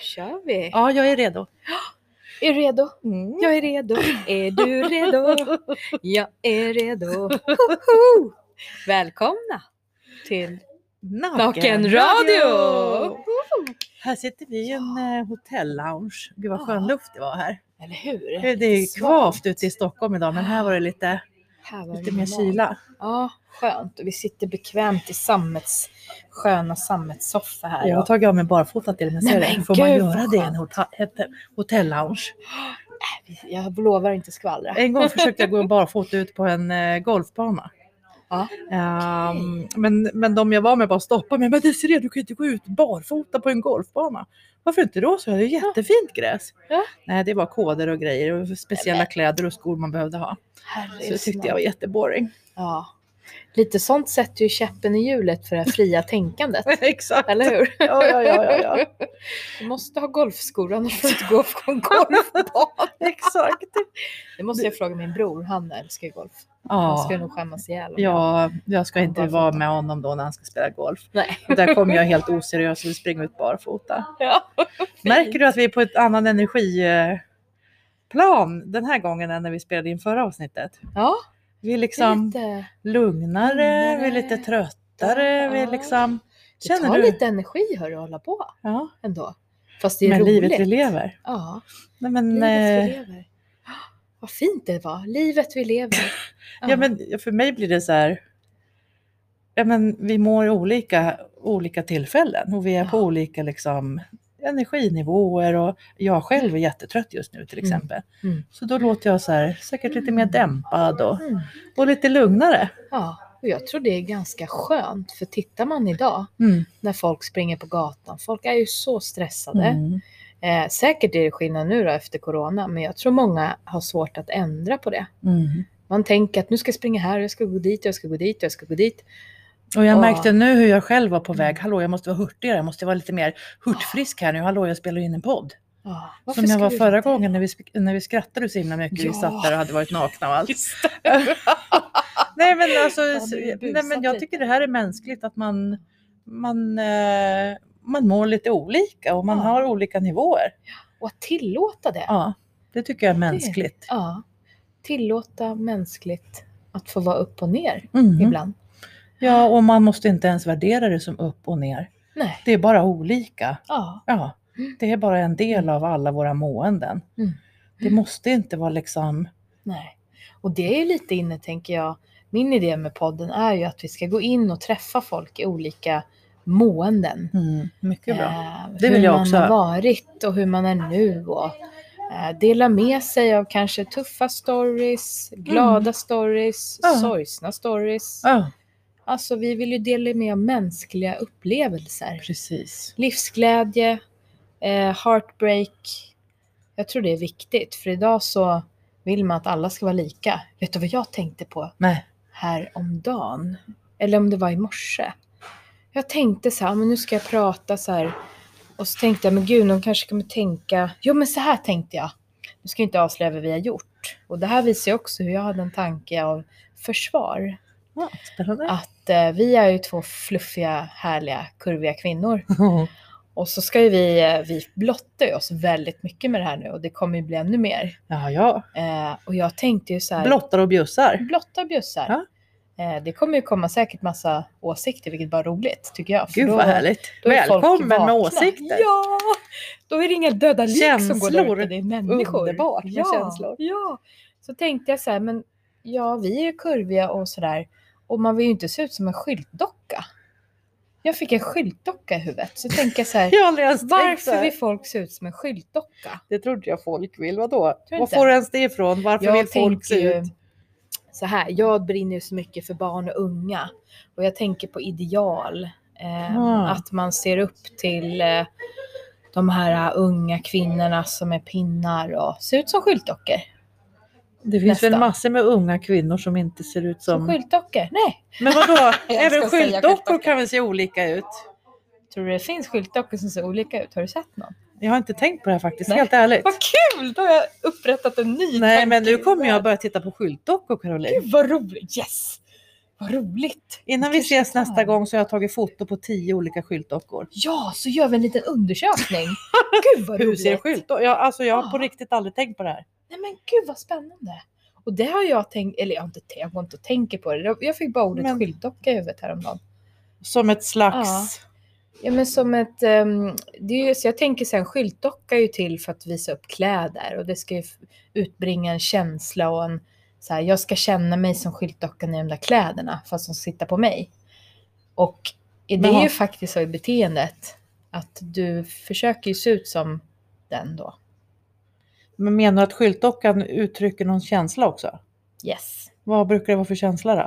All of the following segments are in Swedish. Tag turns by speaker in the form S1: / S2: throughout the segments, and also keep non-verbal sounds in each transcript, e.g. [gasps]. S1: kör vi!
S2: Ja, jag är redo.
S1: Är du redo?
S2: Mm.
S1: Jag är redo. Är du redo? Jag är redo. Hoho! Välkomna till Nakenradio!
S2: Här sitter vi i en eh, hotellounge. Gud vad skön
S1: Ja.
S2: luft det var här.
S1: Eller hur?
S2: Det är ju
S1: Svalt.
S2: kvavt ute i Stockholm idag, men här var det lite,
S1: Här var
S2: lite
S1: det
S2: mer
S1: mat.
S2: kyla.
S1: Ja, skönt. Och vi sitter bekvämt i sammets, sköna sammetssoffa här.
S2: Jag har tagit av mig barfota till och med.
S1: Nej,
S2: Ser du?
S1: men
S2: Får man
S1: gud,
S2: göra
S1: vad
S2: det i en hota- ett- eh, hotellounge?
S1: Jag lovar inte skvallra.
S2: En gång försökte jag gå barfota ut på en eh, golfbana.
S1: Ja,
S2: Ehm, men, men de jag var med bara stoppade mig. Men Desirée, du kan ju inte gå ut barfota på en golfbana. Varför inte då? Så jag, det är jättefint gräs.
S1: Ja.
S2: Nej, det var koder och grejer och speciella kläder och skor man behövde ha. Så det
S1: Herregud.
S2: tyckte jag var jätteboring. [laughs]
S1: Ja. Lite sånt sätter ju käppen i hjulet för det här fria [laughs] tänkandet.
S2: Exakt.
S1: Eller hur?
S2: Ja, ja, ja, ja, ja.
S1: [laughs] Du måste ha golfskor annars får du inte gå på en
S2: [laughs]
S1: golfbana.
S2: Exakt.
S1: [laughs] Det måste jag fråga min bror, han älskar ju golf. Han
S2: Ja,
S1: skulle nog skämmas ihjäl. om jag-
S2: ja, jag ska inte
S1: Barfota.
S2: vara med honom då när han ska spela golf.
S1: Nej.
S2: Och där kommer jag helt oseriös och vill springa ut barfota.
S1: Ja.
S2: Märker du att vi är på ett annan energiplan den här gången än när vi spelade in förra avsnittet?
S1: ja,
S2: Vi är
S1: det är
S2: liksom
S1: lite...
S2: lugnare, vi är lite tröttare, vi är
S1: Ja.
S2: liksom...
S1: Det
S2: Känner
S1: tar
S2: du?
S1: lite energi hörru, att hålla på
S2: Ja,
S1: ändå. Fast det är
S2: med
S1: roligt.
S2: livet vi lever.
S1: Ja,
S2: Nej, men,
S1: livet vi
S2: eh,
S1: lever. Vad fint det var. Livet vi lever.
S2: [gasps] ja, men för mig blir det så här... Ja, men vi mår olika, olika tillfällen och vi är på
S1: Ja.
S2: olika liksom, energinivåer och jag själv är jättetrött just nu till
S1: Mm.
S2: exempel.
S1: Mm.
S2: Så då låter jag så här, säkert lite mer dämpad och,
S1: Mm.
S2: och lite lugnare.
S1: Ja, och jag tror det är ganska skönt. För tittar man idag
S2: Mm.
S1: när folk springer på gatan, folk är ju så stressade.
S2: Mm.
S1: Eh, säkert är det skillnad nu då efter corona, men jag tror många har svårt att ändra på det.
S2: Mm.
S1: Man tänker att nu ska jag springa här, jag ska gå dit, jag ska gå dit, jag ska gå dit.
S2: Och jag
S1: Ja.
S2: märkte nu hur jag själv var på väg.
S1: Mm.
S2: Hallå, jag måste vara hurtigare. Jag måste vara lite mer hurtfrisk här nu. Hallå, jag spelar in en podd.
S1: Ja, Ah, varför
S2: Som jag
S1: ska
S2: var
S1: vi
S2: förra
S1: inte-
S2: gången när vi, sk- när vi skrattade så himla mycket.
S1: Ja.
S2: Vi satt där och hade varit nakna och allt.
S1: Just det.
S2: nej, men alltså,
S1: Ja,
S2: så-
S1: det är ju
S2: nej, men
S1: busat
S2: jag
S1: lite.
S2: tycker det här är mänskligt att man, man, eh, man mår lite olika och man
S1: Ja.
S2: har olika nivåer.
S1: Och att tillåta det. Ja.
S2: Ja, det tycker jag är mänskligt.
S1: Tillåta mänskligt att få vara upp och ner
S2: Mm.
S1: ibland.
S2: Ja, och man måste inte ens värdera det som upp och ner.
S1: Nej.
S2: Det är bara olika.
S1: Ja.
S2: Ja,
S1: Mm.
S2: det är bara en del av alla våra måenden.
S1: Mm.
S2: Det måste inte vara liksom...
S1: Nej. Och det är ju lite inne, tänker jag. Min idé med podden är ju att vi ska gå in och träffa folk i olika måenden.
S2: Mm, mycket bra.
S1: Eh,
S2: Det
S1: hur
S2: vill jag
S1: man
S2: också.
S1: har varit och hur man är nu. Och, eh, dela med sig av kanske tuffa stories, glada stories,
S2: Mm. Ja.
S1: sorgsna stories.
S2: Ja,
S1: Alltså vi vill ju dela med av mänskliga upplevelser.
S2: precis.
S1: Livsglädje, eh, heartbreak. Jag tror det är viktigt för idag så vill man att alla ska vara lika. Vet du vad jag tänkte på
S2: Nej.
S1: här om dagen. Eller om det var i morse. Jag tänkte så här, men nu ska jag prata så här. Och så tänkte jag, men gud, någon kanske kommer tänka. Jo, men så här tänkte jag. Nu ska jag inte avslöja vad vi har gjort. Och det här visar ju också hur jag hade en tanke av försvar.
S2: Ja, spännande.
S1: Att eh, vi är ju två fluffiga, härliga, kurviga kvinnor. Och så ska ju vi, eh, vi blottar ju oss väldigt mycket med det här nu. Och det kommer ju bli ännu mer.
S2: Ja, ja.
S1: Eh, och jag tänkte ju så här.
S2: Blottar och bjussar.
S1: Blotta bjussar.
S2: Ja.
S1: Eh, Det kommer ju komma säkert massa åsikter, vilket bara är roligt tycker jag. För
S2: Gud
S1: då-
S2: vad härligt.
S1: då är folk
S2: Välkommen med
S1: vakna.
S2: åsikter.
S1: Ja! Då är det inga döda lik som går där
S2: Känslor.
S1: ute, det är människor.
S2: Underbart med känslor.
S1: Ja! Så tänkte jag så här, men ja, vi är ju kurviga och sådär. Och man vill ju inte se ut som en skyltdocka. Jag fick en skyltdocka i huvudet, så tänkte jag så här,
S2: [laughs] Jag har aldrig ens tänkt så
S1: varför
S2: här.
S1: vill folk se ut som en skyltdocka?
S2: Det trodde jag folk vill. Vadå?
S1: du
S2: Var
S1: inte?
S2: får du ens det ifrån? Varför
S1: jag
S2: vill folk se
S1: tänker ju
S2: ut?
S1: så här, jag brinner ju så mycket för barn och unga och jag tänker på ideal. Eh,
S2: Ah.
S1: Att man ser upp till eh, de här eh, unga kvinnorna som är pinnar och ser ut som skyltdockor.
S2: Det finns väl
S1: nästan.
S2: massor med unga kvinnor som inte ser ut
S1: Som
S2: som...
S1: skyltdockor? Nej.
S2: Men vadå?
S1: [laughs] Jag
S2: Även
S1: ska säga
S2: skyltdockor
S1: skyltdockor.
S2: kan väl se olika ut?
S1: Tror du det finns skyltdockor som ser olika ut? Har du sett någon?
S2: Jag har inte tänkt på det här faktiskt,
S1: Nej.
S2: helt ärligt.
S1: Vad kul! Då har jag upprättat en ny
S2: Nej, men
S1: tanke.
S2: nu kommer jag börja titta på skyltdockor, Caroline.
S1: Gud vad roligt! Yes! Vad roligt!
S2: Innan vi
S1: Kanske
S2: ses
S1: tar.
S2: nästa gång så har jag tagit foto på tio olika skyltdockor.
S1: Ja, så gör vi en liten undersökning.
S2: [laughs]
S1: Gud vad
S2: Hur
S1: roligt! Ah.
S2: ser skylt? Jag, alltså jag har på
S1: Ja.
S2: riktigt aldrig tänkt på det här.
S1: Nej men gud vad spännande! Och det har jag tänkt, eller jag har inte tänkt, jag går inte och tänker på det. Jag- Jag fick bara ordet
S2: Men-
S1: skyltdocka i huvudet häromdagen.
S2: Som ett slags...
S1: Ah. Ja men som ett, ehm, det är ju, så jag tänker så här, en skyltdocka är ju till för att visa upp kläder och det ska ju f- utbringa en känsla och en, så här, jag ska känna mig som skyltdockan i de där kläderna fast de sitter på mig. Och det är
S2: Jaha.
S1: ju faktiskt så i beteendet att du försöker ju se ut som den då.
S2: Men menar du att skyltdockan uttrycker någon känsla också?
S1: Yes.
S2: Vad brukar det vara för känsla då?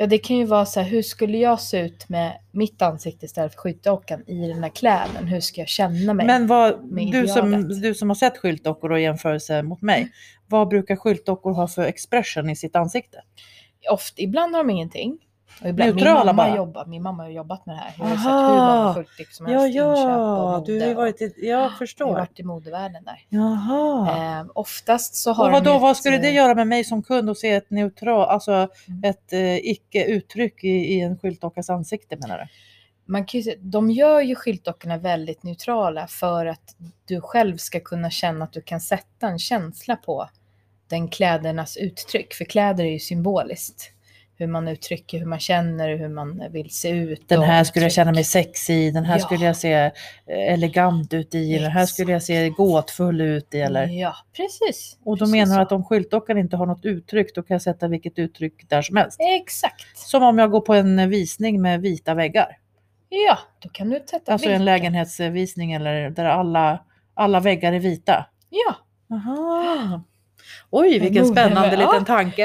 S1: Ja, det kan ju vara så här, hur skulle jag se ut med mitt ansikte istället för skyltdockan i den här kläden? Hur ska jag känna mig?
S2: Men vad,
S1: med
S2: du, som,
S1: idealet.
S2: du som har sett skyltdockor och i jämförelse mot
S1: Mm.
S2: mig, vad brukar skyltdockor ha för expression i sitt ansikte?
S1: Ofta, ibland har de ingenting. Och ibland, min,
S2: Neutrala
S1: mamma
S2: bara.
S1: jobbar, min mamma har jobbat med det här. Jag har ju
S2: Aha.
S1: sett hur många skyltdryck som helst, inköp och mode. och-
S2: i,
S1: Ah, Jag har varit i modevärlden där.
S2: Jaha.
S1: Ehm, oftast så har
S2: Och vad
S1: de
S2: då,
S1: ju
S2: vad
S1: ett,
S2: skulle det
S1: eh,
S2: göra med mig som kund att se ett neutral, alltså
S1: Mm.
S2: ett eh, icke-uttryck i, i en skyltdockas ansikte menar du?
S1: man kan ju, se- de gör ju skyltdockorna väldigt neutrala för att du själv ska kunna känna att du kan sätta en känsla på den klädernas uttryck. För kläder är ju symboliskt. Hur man uttrycker, hur man känner, hur man vill se ut.
S2: Den
S1: och
S2: här skulle jag
S1: uttryck.
S2: känna mig sexig i, den här
S1: Ja.
S2: skulle jag se eh, elegant ut i, den här skulle jag se gåtfull ut i eller?
S1: Ja, precis.
S2: Och då
S1: Precis
S2: menar
S1: så.
S2: du att om skyltdockan inte har något uttryck då kan jag sätta vilket uttryck där som helst?
S1: Exakt.
S2: Som om jag går på en visning med vita väggar.
S1: Ja, då kan du sätta
S2: Alltså
S1: vilken-
S2: en lägenhetsvisning eller där alla, alla väggar är vita.
S1: Ja,
S2: Aha. Oj,
S1: Vad
S2: vilken
S1: modig
S2: spännande
S1: jag är.
S2: tanke. [laughs] tanke.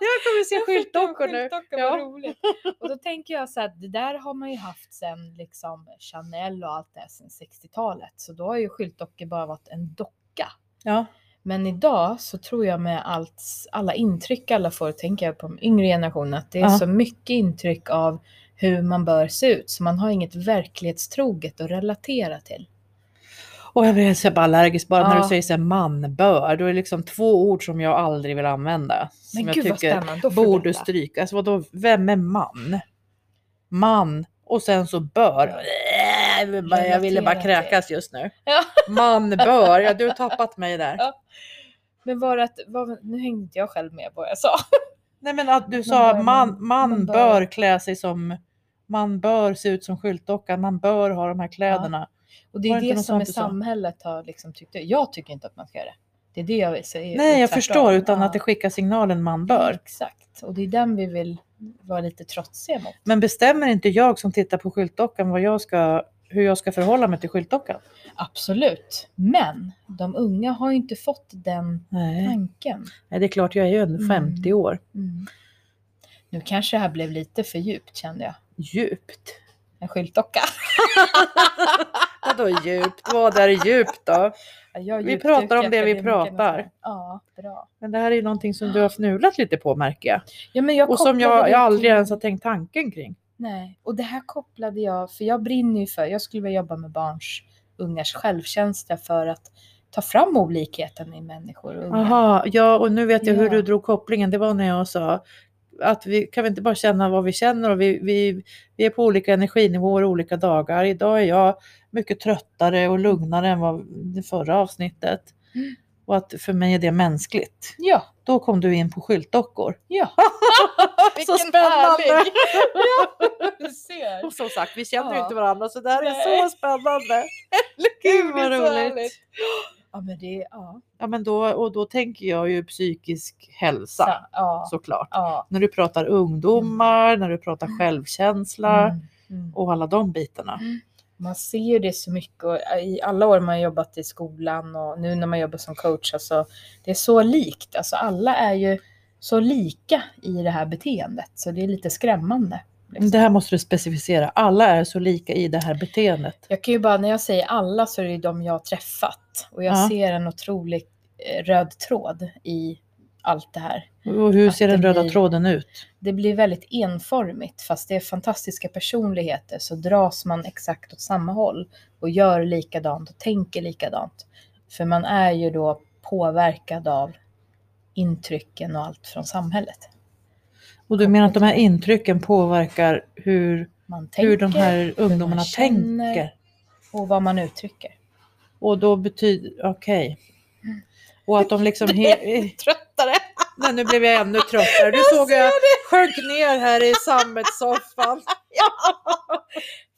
S2: jag kommer se skyltdockor nu.
S1: Ja.
S2: Ja.
S1: roligt. Och då tänker jag så att det där har man ju haft sen liksom Chanel och allt det här sen 60-talet. Så då har ju skyltdockor bara varit en docka.
S2: Ja.
S1: Men idag så tror jag med allt, alla intryck alla får, tänker jag på de yngre generationen, att det är
S2: Ja.
S1: så mycket intryck av hur man bör se ut. Så man har inget verklighetstroget att relatera till.
S2: Och jag blir så bara allergisk bara när
S1: Ja.
S2: du säger så här manbör. Då är det liksom två ord som jag aldrig vill använda. Som
S1: Men
S2: jag
S1: gud vad
S2: tycker
S1: spännande. Då får du
S2: borde
S1: berätta.
S2: strykas. Alltså, vadå, vem är man? Man och sen så bör. Jag vill bara- Jag ville bara
S1: Relatera till.
S2: kräkas just nu.
S1: Ja.
S2: Man bör. Ja, du har tappat mig där.
S1: Ja. Men var det att, var, nu hängde inte jag själv med vad jag sa.
S2: Nej men att du
S1: Man
S2: sa
S1: bör-
S2: man, man,
S1: man bör-
S2: bör, klä sig som, man bör se ut som skyltdockan, man bör ha de här kläderna.
S1: Och det
S2: Var
S1: är
S2: det
S1: det,
S2: inte något
S1: som är
S2: sånt du sa?
S1: samhället har liksom tyckt. Jag tycker inte att man ska göra det. Det är det jag säger.
S2: Nej jag
S1: tvärtom.
S2: förstår, utan
S1: Ja.
S2: att det skickar signalen man bör.
S1: Exakt, och det är den vi vill vara lite trotsiga mot.
S2: Men bestämmer inte jag som tittar på skyltdockan vad jag ska, hur jag ska förhålla mig till skyltdockan?
S1: Absolut, men de unga har ju inte fått den
S2: Nej,
S1: tanken.
S2: Nej det är klart jag är ju ändå 50 år.
S1: Mm. Nu kanske det här blev lite för djupt kände jag.
S2: Djupt.
S1: En skyltdocka.
S2: Vadå djupt? Vad är djupt då?
S1: Ja, jag
S2: Vi
S1: djupdykar
S2: pratar om det vi
S1: akademikerna.
S2: pratar.
S1: Ja, bra.
S2: Men det här är ju någonting som du har fnulat lite på märker jag.
S1: Ja, men jag
S2: Och som
S1: kopplade
S2: jag,
S1: det
S2: jag aldrig
S1: till-
S2: ens har tänkt tanken kring.
S1: Nej, och det här kopplade jag, för jag brinner ju för, jag skulle vilja jobba med barns, ungars självkänsla för att ta fram olikheten i människor och unga.
S2: Aha, Mm. ja och nu vet jag hur
S1: Ja.
S2: du drog kopplingen. Det var när jag sa att vi kan vi inte bara känna vad vi känner och vi, vi, vi är på olika energinivåer olika dagar. Idag är jag mycket tröttare och lugnare än vad det förra avsnittet.
S1: Mm.
S2: Och att för mig är det mänskligt.
S1: Ja,
S2: Då kom du in på skyltdockor. [laughs]
S1: ja.
S2: Så spännande!
S1: härlig- [laughs] ja, du ser.
S2: Och som sagt, vi känner ju
S1: Ja.
S2: inte varandra så det här är
S1: Nej.
S2: så [laughs] spännande.
S1: Gud
S2: vad roligt.
S1: Ja, men det är, ja.
S2: Ja, men då, och då tänker jag ju psykisk hälsa
S1: Så, ja,
S2: såklart.
S1: ja.
S2: När du pratar ungdomar, när du pratar
S1: Mm.
S2: självkänsla.
S1: Mm, mm.
S2: och alla de bitarna.
S1: Man ser ju det så mycket och äh, i alla år man har jobbat i skolan och nu när man jobbar som coach, alltså, det är så likt. Alltså, alla är ju så lika i det här beteendet så det är lite skrämmande. liksom.
S2: Det här måste du specificera. Alla är så lika i det här beteendet.
S1: Jag kan ju bara, när jag säger alla så är det ju de jag har träffat och jag
S2: Ja.
S1: ser en otrolig eh, röd tråd i allt det här.
S2: Och hur
S1: Att
S2: ser
S1: det
S2: den röda
S1: blir-
S2: tråden ut?
S1: det blir väldigt enformigt fast det är fantastiska personligheter så dras man exakt åt samma håll och gör likadant och tänker likadant. För man är ju då påverkad av intrycken och allt från samhället.
S2: Och du menar att de här intrycken påverkar hur,
S1: Man tänker,
S2: hur de här ungdomarna
S1: känner.
S2: tänker?
S1: Och vad man uttrycker.
S2: Och då betyder, okej. Och att de [laughs] liksom... he-
S1: Tröttare!
S2: Nej, nu blev jag ännu tröttare. Du såg jag sjönk ner här i sammetssoffan.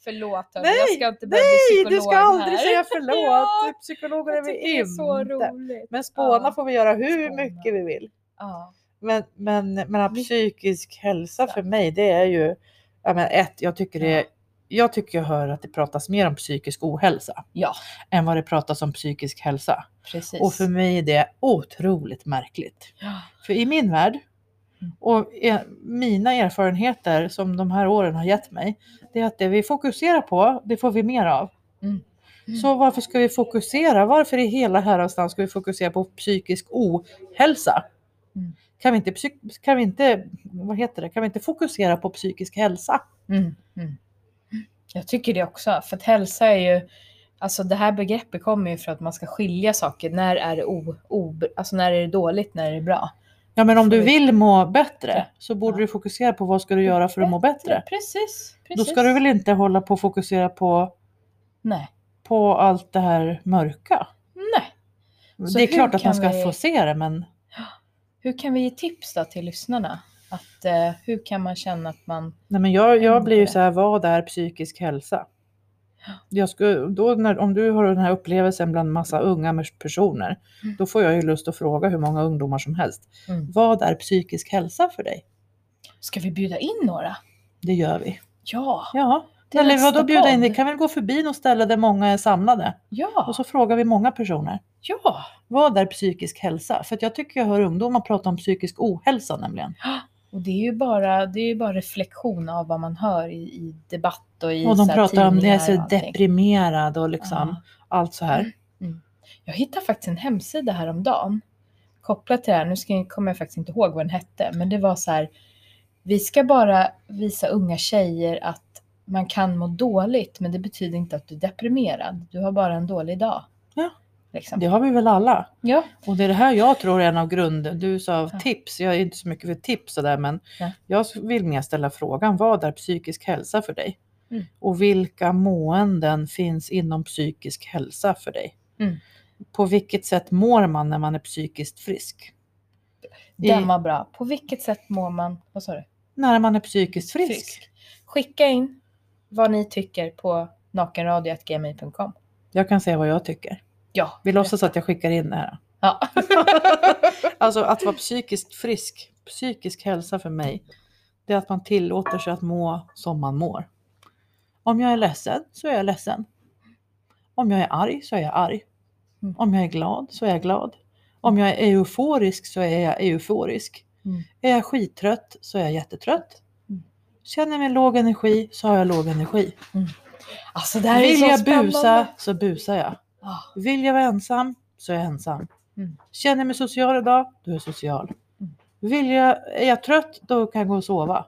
S1: Förlåt hörni,
S2: Nej,
S1: jag ska inte börja
S2: Nej,
S1: bli
S2: du ska aldrig
S1: här.
S2: säga förlåt.
S1: Ja,
S2: Psykologer är
S1: Jag
S2: vi
S1: tycker det är så
S2: inte.
S1: roligt.
S2: Men spåna
S1: Ja.
S2: får vi göra hur
S1: Spåna.
S2: mycket vi vill.
S1: Ja.
S2: Men, men, men att
S1: Mycket.
S2: psykisk hälsa för mig, det är ju... Ja, men ett, jag tycker, det, jag tycker jag hör att det pratas mer om psykisk ohälsa
S1: ja,
S2: än vad det pratas om psykisk hälsa.
S1: precis.
S2: Och för mig är det otroligt märkligt.
S1: Ja.
S2: För i min värld
S1: Mm.
S2: och e- mina erfarenheter som de här åren har gett mig, det är att det vi fokuserar på, det får vi mer av.
S1: Mm. Mm.
S2: Så varför ska vi fokusera? Varför i hela herrans namn ska vi fokusera på psykisk ohälsa?
S1: Mm.
S2: Kan vi, inte psyk- kan, vi inte, vad heter det? kan vi inte fokusera på psykisk hälsa?
S1: Mm, mm. Jag tycker det också, för att hälsa är ju, alltså det här begreppet kommer ju för att man ska skilja saker. När är det, o, o, alltså när är det dåligt, när är det bra?
S2: Ja, men om du
S1: Absolut.
S2: vill må bättre så borde
S1: Ja.
S2: du fokusera på vad ska du göra för att må bättre.
S1: Precis, precis.
S2: Då ska du väl inte hålla på och fokusera på,
S1: Nej.
S2: på allt det här mörka?
S1: Nej. Så
S2: det är
S1: hur
S2: klart att
S1: kan
S2: man ska
S1: vi-
S2: få se det, men
S1: Hur kan vi ge tips då till lyssnarna? Att, eh, hur kan man känna att man...
S2: Nej, men jag, jag
S1: Händer
S2: blir ju
S1: det?
S2: så här, vad är psykisk hälsa? Jag skulle, då när, om du har den här upplevelsen bland massa unga mers- personer,
S1: Mm.
S2: då får jag ju lust att fråga hur många ungdomar som helst.
S1: Mm.
S2: Vad är psykisk hälsa för dig?
S1: Ska vi bjuda in några?
S2: Det gör vi.
S1: Ja,
S2: Ja,
S1: till
S2: eller
S1: nästa
S2: vadå bjuda in? Vi
S1: podd.
S2: kan väl gå förbi något ställe där många är samlade
S1: Ja,
S2: och så frågar vi många personer.
S1: ja.
S2: Vad är psykisk hälsa? För att jag tycker jag hör ungdomar prata om psykisk ohälsa nämligen.
S1: Och det är ju bara, det är ju bara reflektion av vad man hör i, i debatt och i
S2: Och de
S1: så här
S2: pratar om det
S1: tidningar
S2: är så
S1: och allting.
S2: deprimerad och liksom
S1: Ja.
S2: allt så här.
S1: Jag hittade faktiskt en hemsida häromdagen kopplat till det här. Nu ska jag, kommer jag faktiskt inte ihåg vad den hette, men det var så här. Vi ska bara visa unga tjejer att man kan må dåligt, men det betyder inte att du är deprimerad. Du har bara en dålig dag.
S2: Ja.
S1: Liksom.
S2: Det har vi väl alla.
S1: Ja.
S2: Och det är det här jag tror är en av grunden. Du sa
S1: Ja.
S2: tips, jag är inte så mycket för tips sådär men
S1: Ja.
S2: jag vill mer ställa frågan, vad är psykisk hälsa för dig?
S1: Mm.
S2: Och vilka måenden finns inom psykisk hälsa för dig?
S1: Mm.
S2: På vilket sätt mår man när man är psykiskt frisk? I,
S1: Den var bra. På vilket sätt mår man? Vad sa du?
S2: när man är psykiskt frisk.
S1: Skicka in vad ni tycker på nakenradio.gmi.com.
S2: Jag kan säga vad jag tycker.
S1: Ja.
S2: Vi låtsas att jag skickar in det här.
S1: Ja.
S2: [laughs] Alltså att vara psykiskt frisk, psykisk hälsa för mig, det är att man tillåter sig att må som man mår. Om jag är ledsen så är jag ledsen. Om jag är arg så är jag arg.
S1: Mm.
S2: Om jag är glad så är jag glad. Om jag är euforisk så är jag euforisk.
S1: Mm.
S2: Är jag skittrött så är jag jättetrött.
S1: Mm.
S2: Känner jag mig låg energi så har jag låg energi.
S1: Alltså det här är
S2: Vill
S1: så
S2: jag
S1: spännande. Ah.
S2: busa så busar jag.
S1: Ja.
S2: Vill jag vara ensam så är jag ensam.
S1: Mm.
S2: Känner jag mig social idag, då är jag social.
S1: Mm.
S2: Vill jag, är jag trött, då kan jag gå och sova.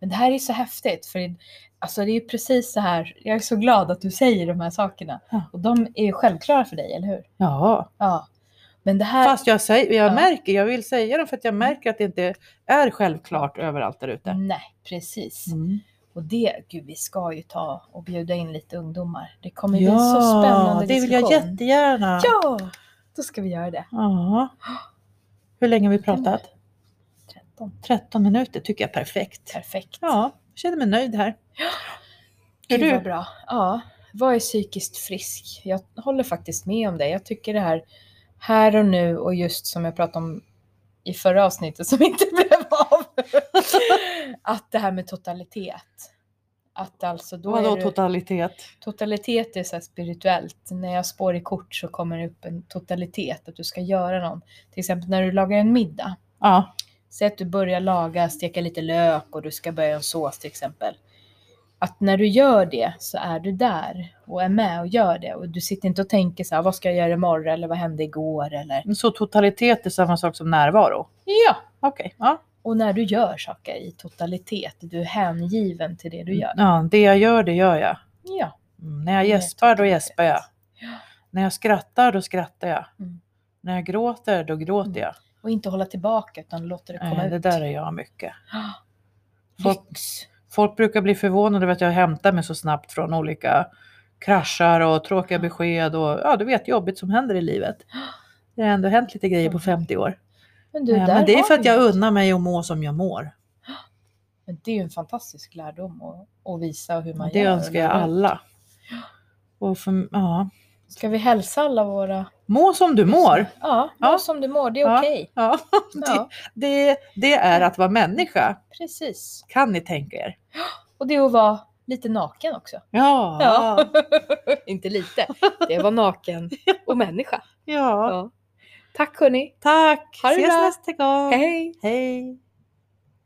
S1: Men det här är så häftigt för det- alltså det är ju precis så här. Jag är så glad att du säger de här sakerna
S2: Ja.
S1: och de är ju självklara för dig, eller hur?
S2: Ja,
S1: Ja, men det här.
S2: fast jag, säger, jag
S1: Ja. Mm.
S2: märker, jag vill säga dem för att jag märker att det inte är självklart överallt där ute.
S1: Nej, precis.
S2: Mm.
S1: Och det, gud, vi ska ju ta och bjuda in lite ungdomar. Det kommer bli en så spännande
S2: det vill jag
S1: diskussion.
S2: jättegärna.
S1: Ja, då ska vi göra det.
S2: Ja. Hur länge har vi pratat?
S1: 13.
S2: 13 minuter tycker jag är perfekt.
S1: Perfekt.
S2: Ja, jag känner mig nöjd här. Hur
S1: Gud
S2: är
S1: vad
S2: du?
S1: bra. Ja, vad är psykiskt frisk? Jag håller faktiskt med om det. Jag tycker det här här och nu och just som jag pratade om i förra avsnittet som [laughs] inte blev
S2: [laughs]
S1: av. att det här med totalitet. Att alltså då
S2: Vadå
S1: är det,
S2: totalitet?
S1: totalitet är så här spirituellt. När jag spår i kort så kommer det upp en totalitet att du ska göra någon. Till exempel när du lagar en middag.
S2: Ja,
S1: Säg att du börjar laga, steka lite lök och du ska börja göra en sås till exempel. Att när du gör det så är du där och är med och gör det och du sitter inte och tänker så här, vad ska jag göra imorgon eller vad hände igår eller
S2: så totalitet är samma sak som närvaro?
S1: ja.
S2: Okej, ja.
S1: Och när du gör saker i totalitet, du är hängiven till det du gör.
S2: Ja, det jag gör, det gör jag.
S1: Ja,
S2: Mm, när Mm. jag
S1: Det är
S2: gäspar, då
S1: totalt
S2: gäspar jag.
S1: rätt. Ja.
S2: När jag skrattar, då skrattar jag.
S1: Mm.
S2: När jag gråter, då gråter
S1: Mm.
S2: jag.
S1: Och inte hålla tillbaka utan låta det komma
S2: Nej,
S1: ut.
S2: det där är jag mycket.
S1: Ah,
S2: Folk-
S1: Lyx.
S2: Folk brukar bli förvånade över att jag hämtar mig så snabbt från olika kraschar och tråkiga besked och ja, du vet jobbigt som händer i
S1: [gasps]
S2: livet. Det har ändå hänt lite grejer på 50 år.
S1: Men Mm. du,
S2: Det,
S1: där
S2: men det är
S1: har
S2: för att
S1: vi
S2: jag
S1: något.
S2: unnar mig att må som jag mår.
S1: Men det är ju en fantastisk lärdom att, att visa hur man
S2: det
S1: gör.
S2: önskar jag alla. Och för, ja.
S1: Ska vi hälsa alla våra...
S2: Må som du mår.
S1: Ja,
S2: Ja.
S1: ja. som du mår, det är
S2: Ja.
S1: okej.
S2: Ja, [laughs] det,
S1: Ja,
S2: det, det är att vara människa,
S1: precis.
S2: kan ni tänka er.
S1: Och det är att vara lite naken också.
S2: Ja,
S1: Ja. [laughs]
S2: ja.
S1: inte lite, det var naken och människa. Ja. Tack hörni,
S2: tack.
S1: Ha det
S2: Ses
S1: bra.
S2: nästa gång.
S1: hej!
S2: Hej.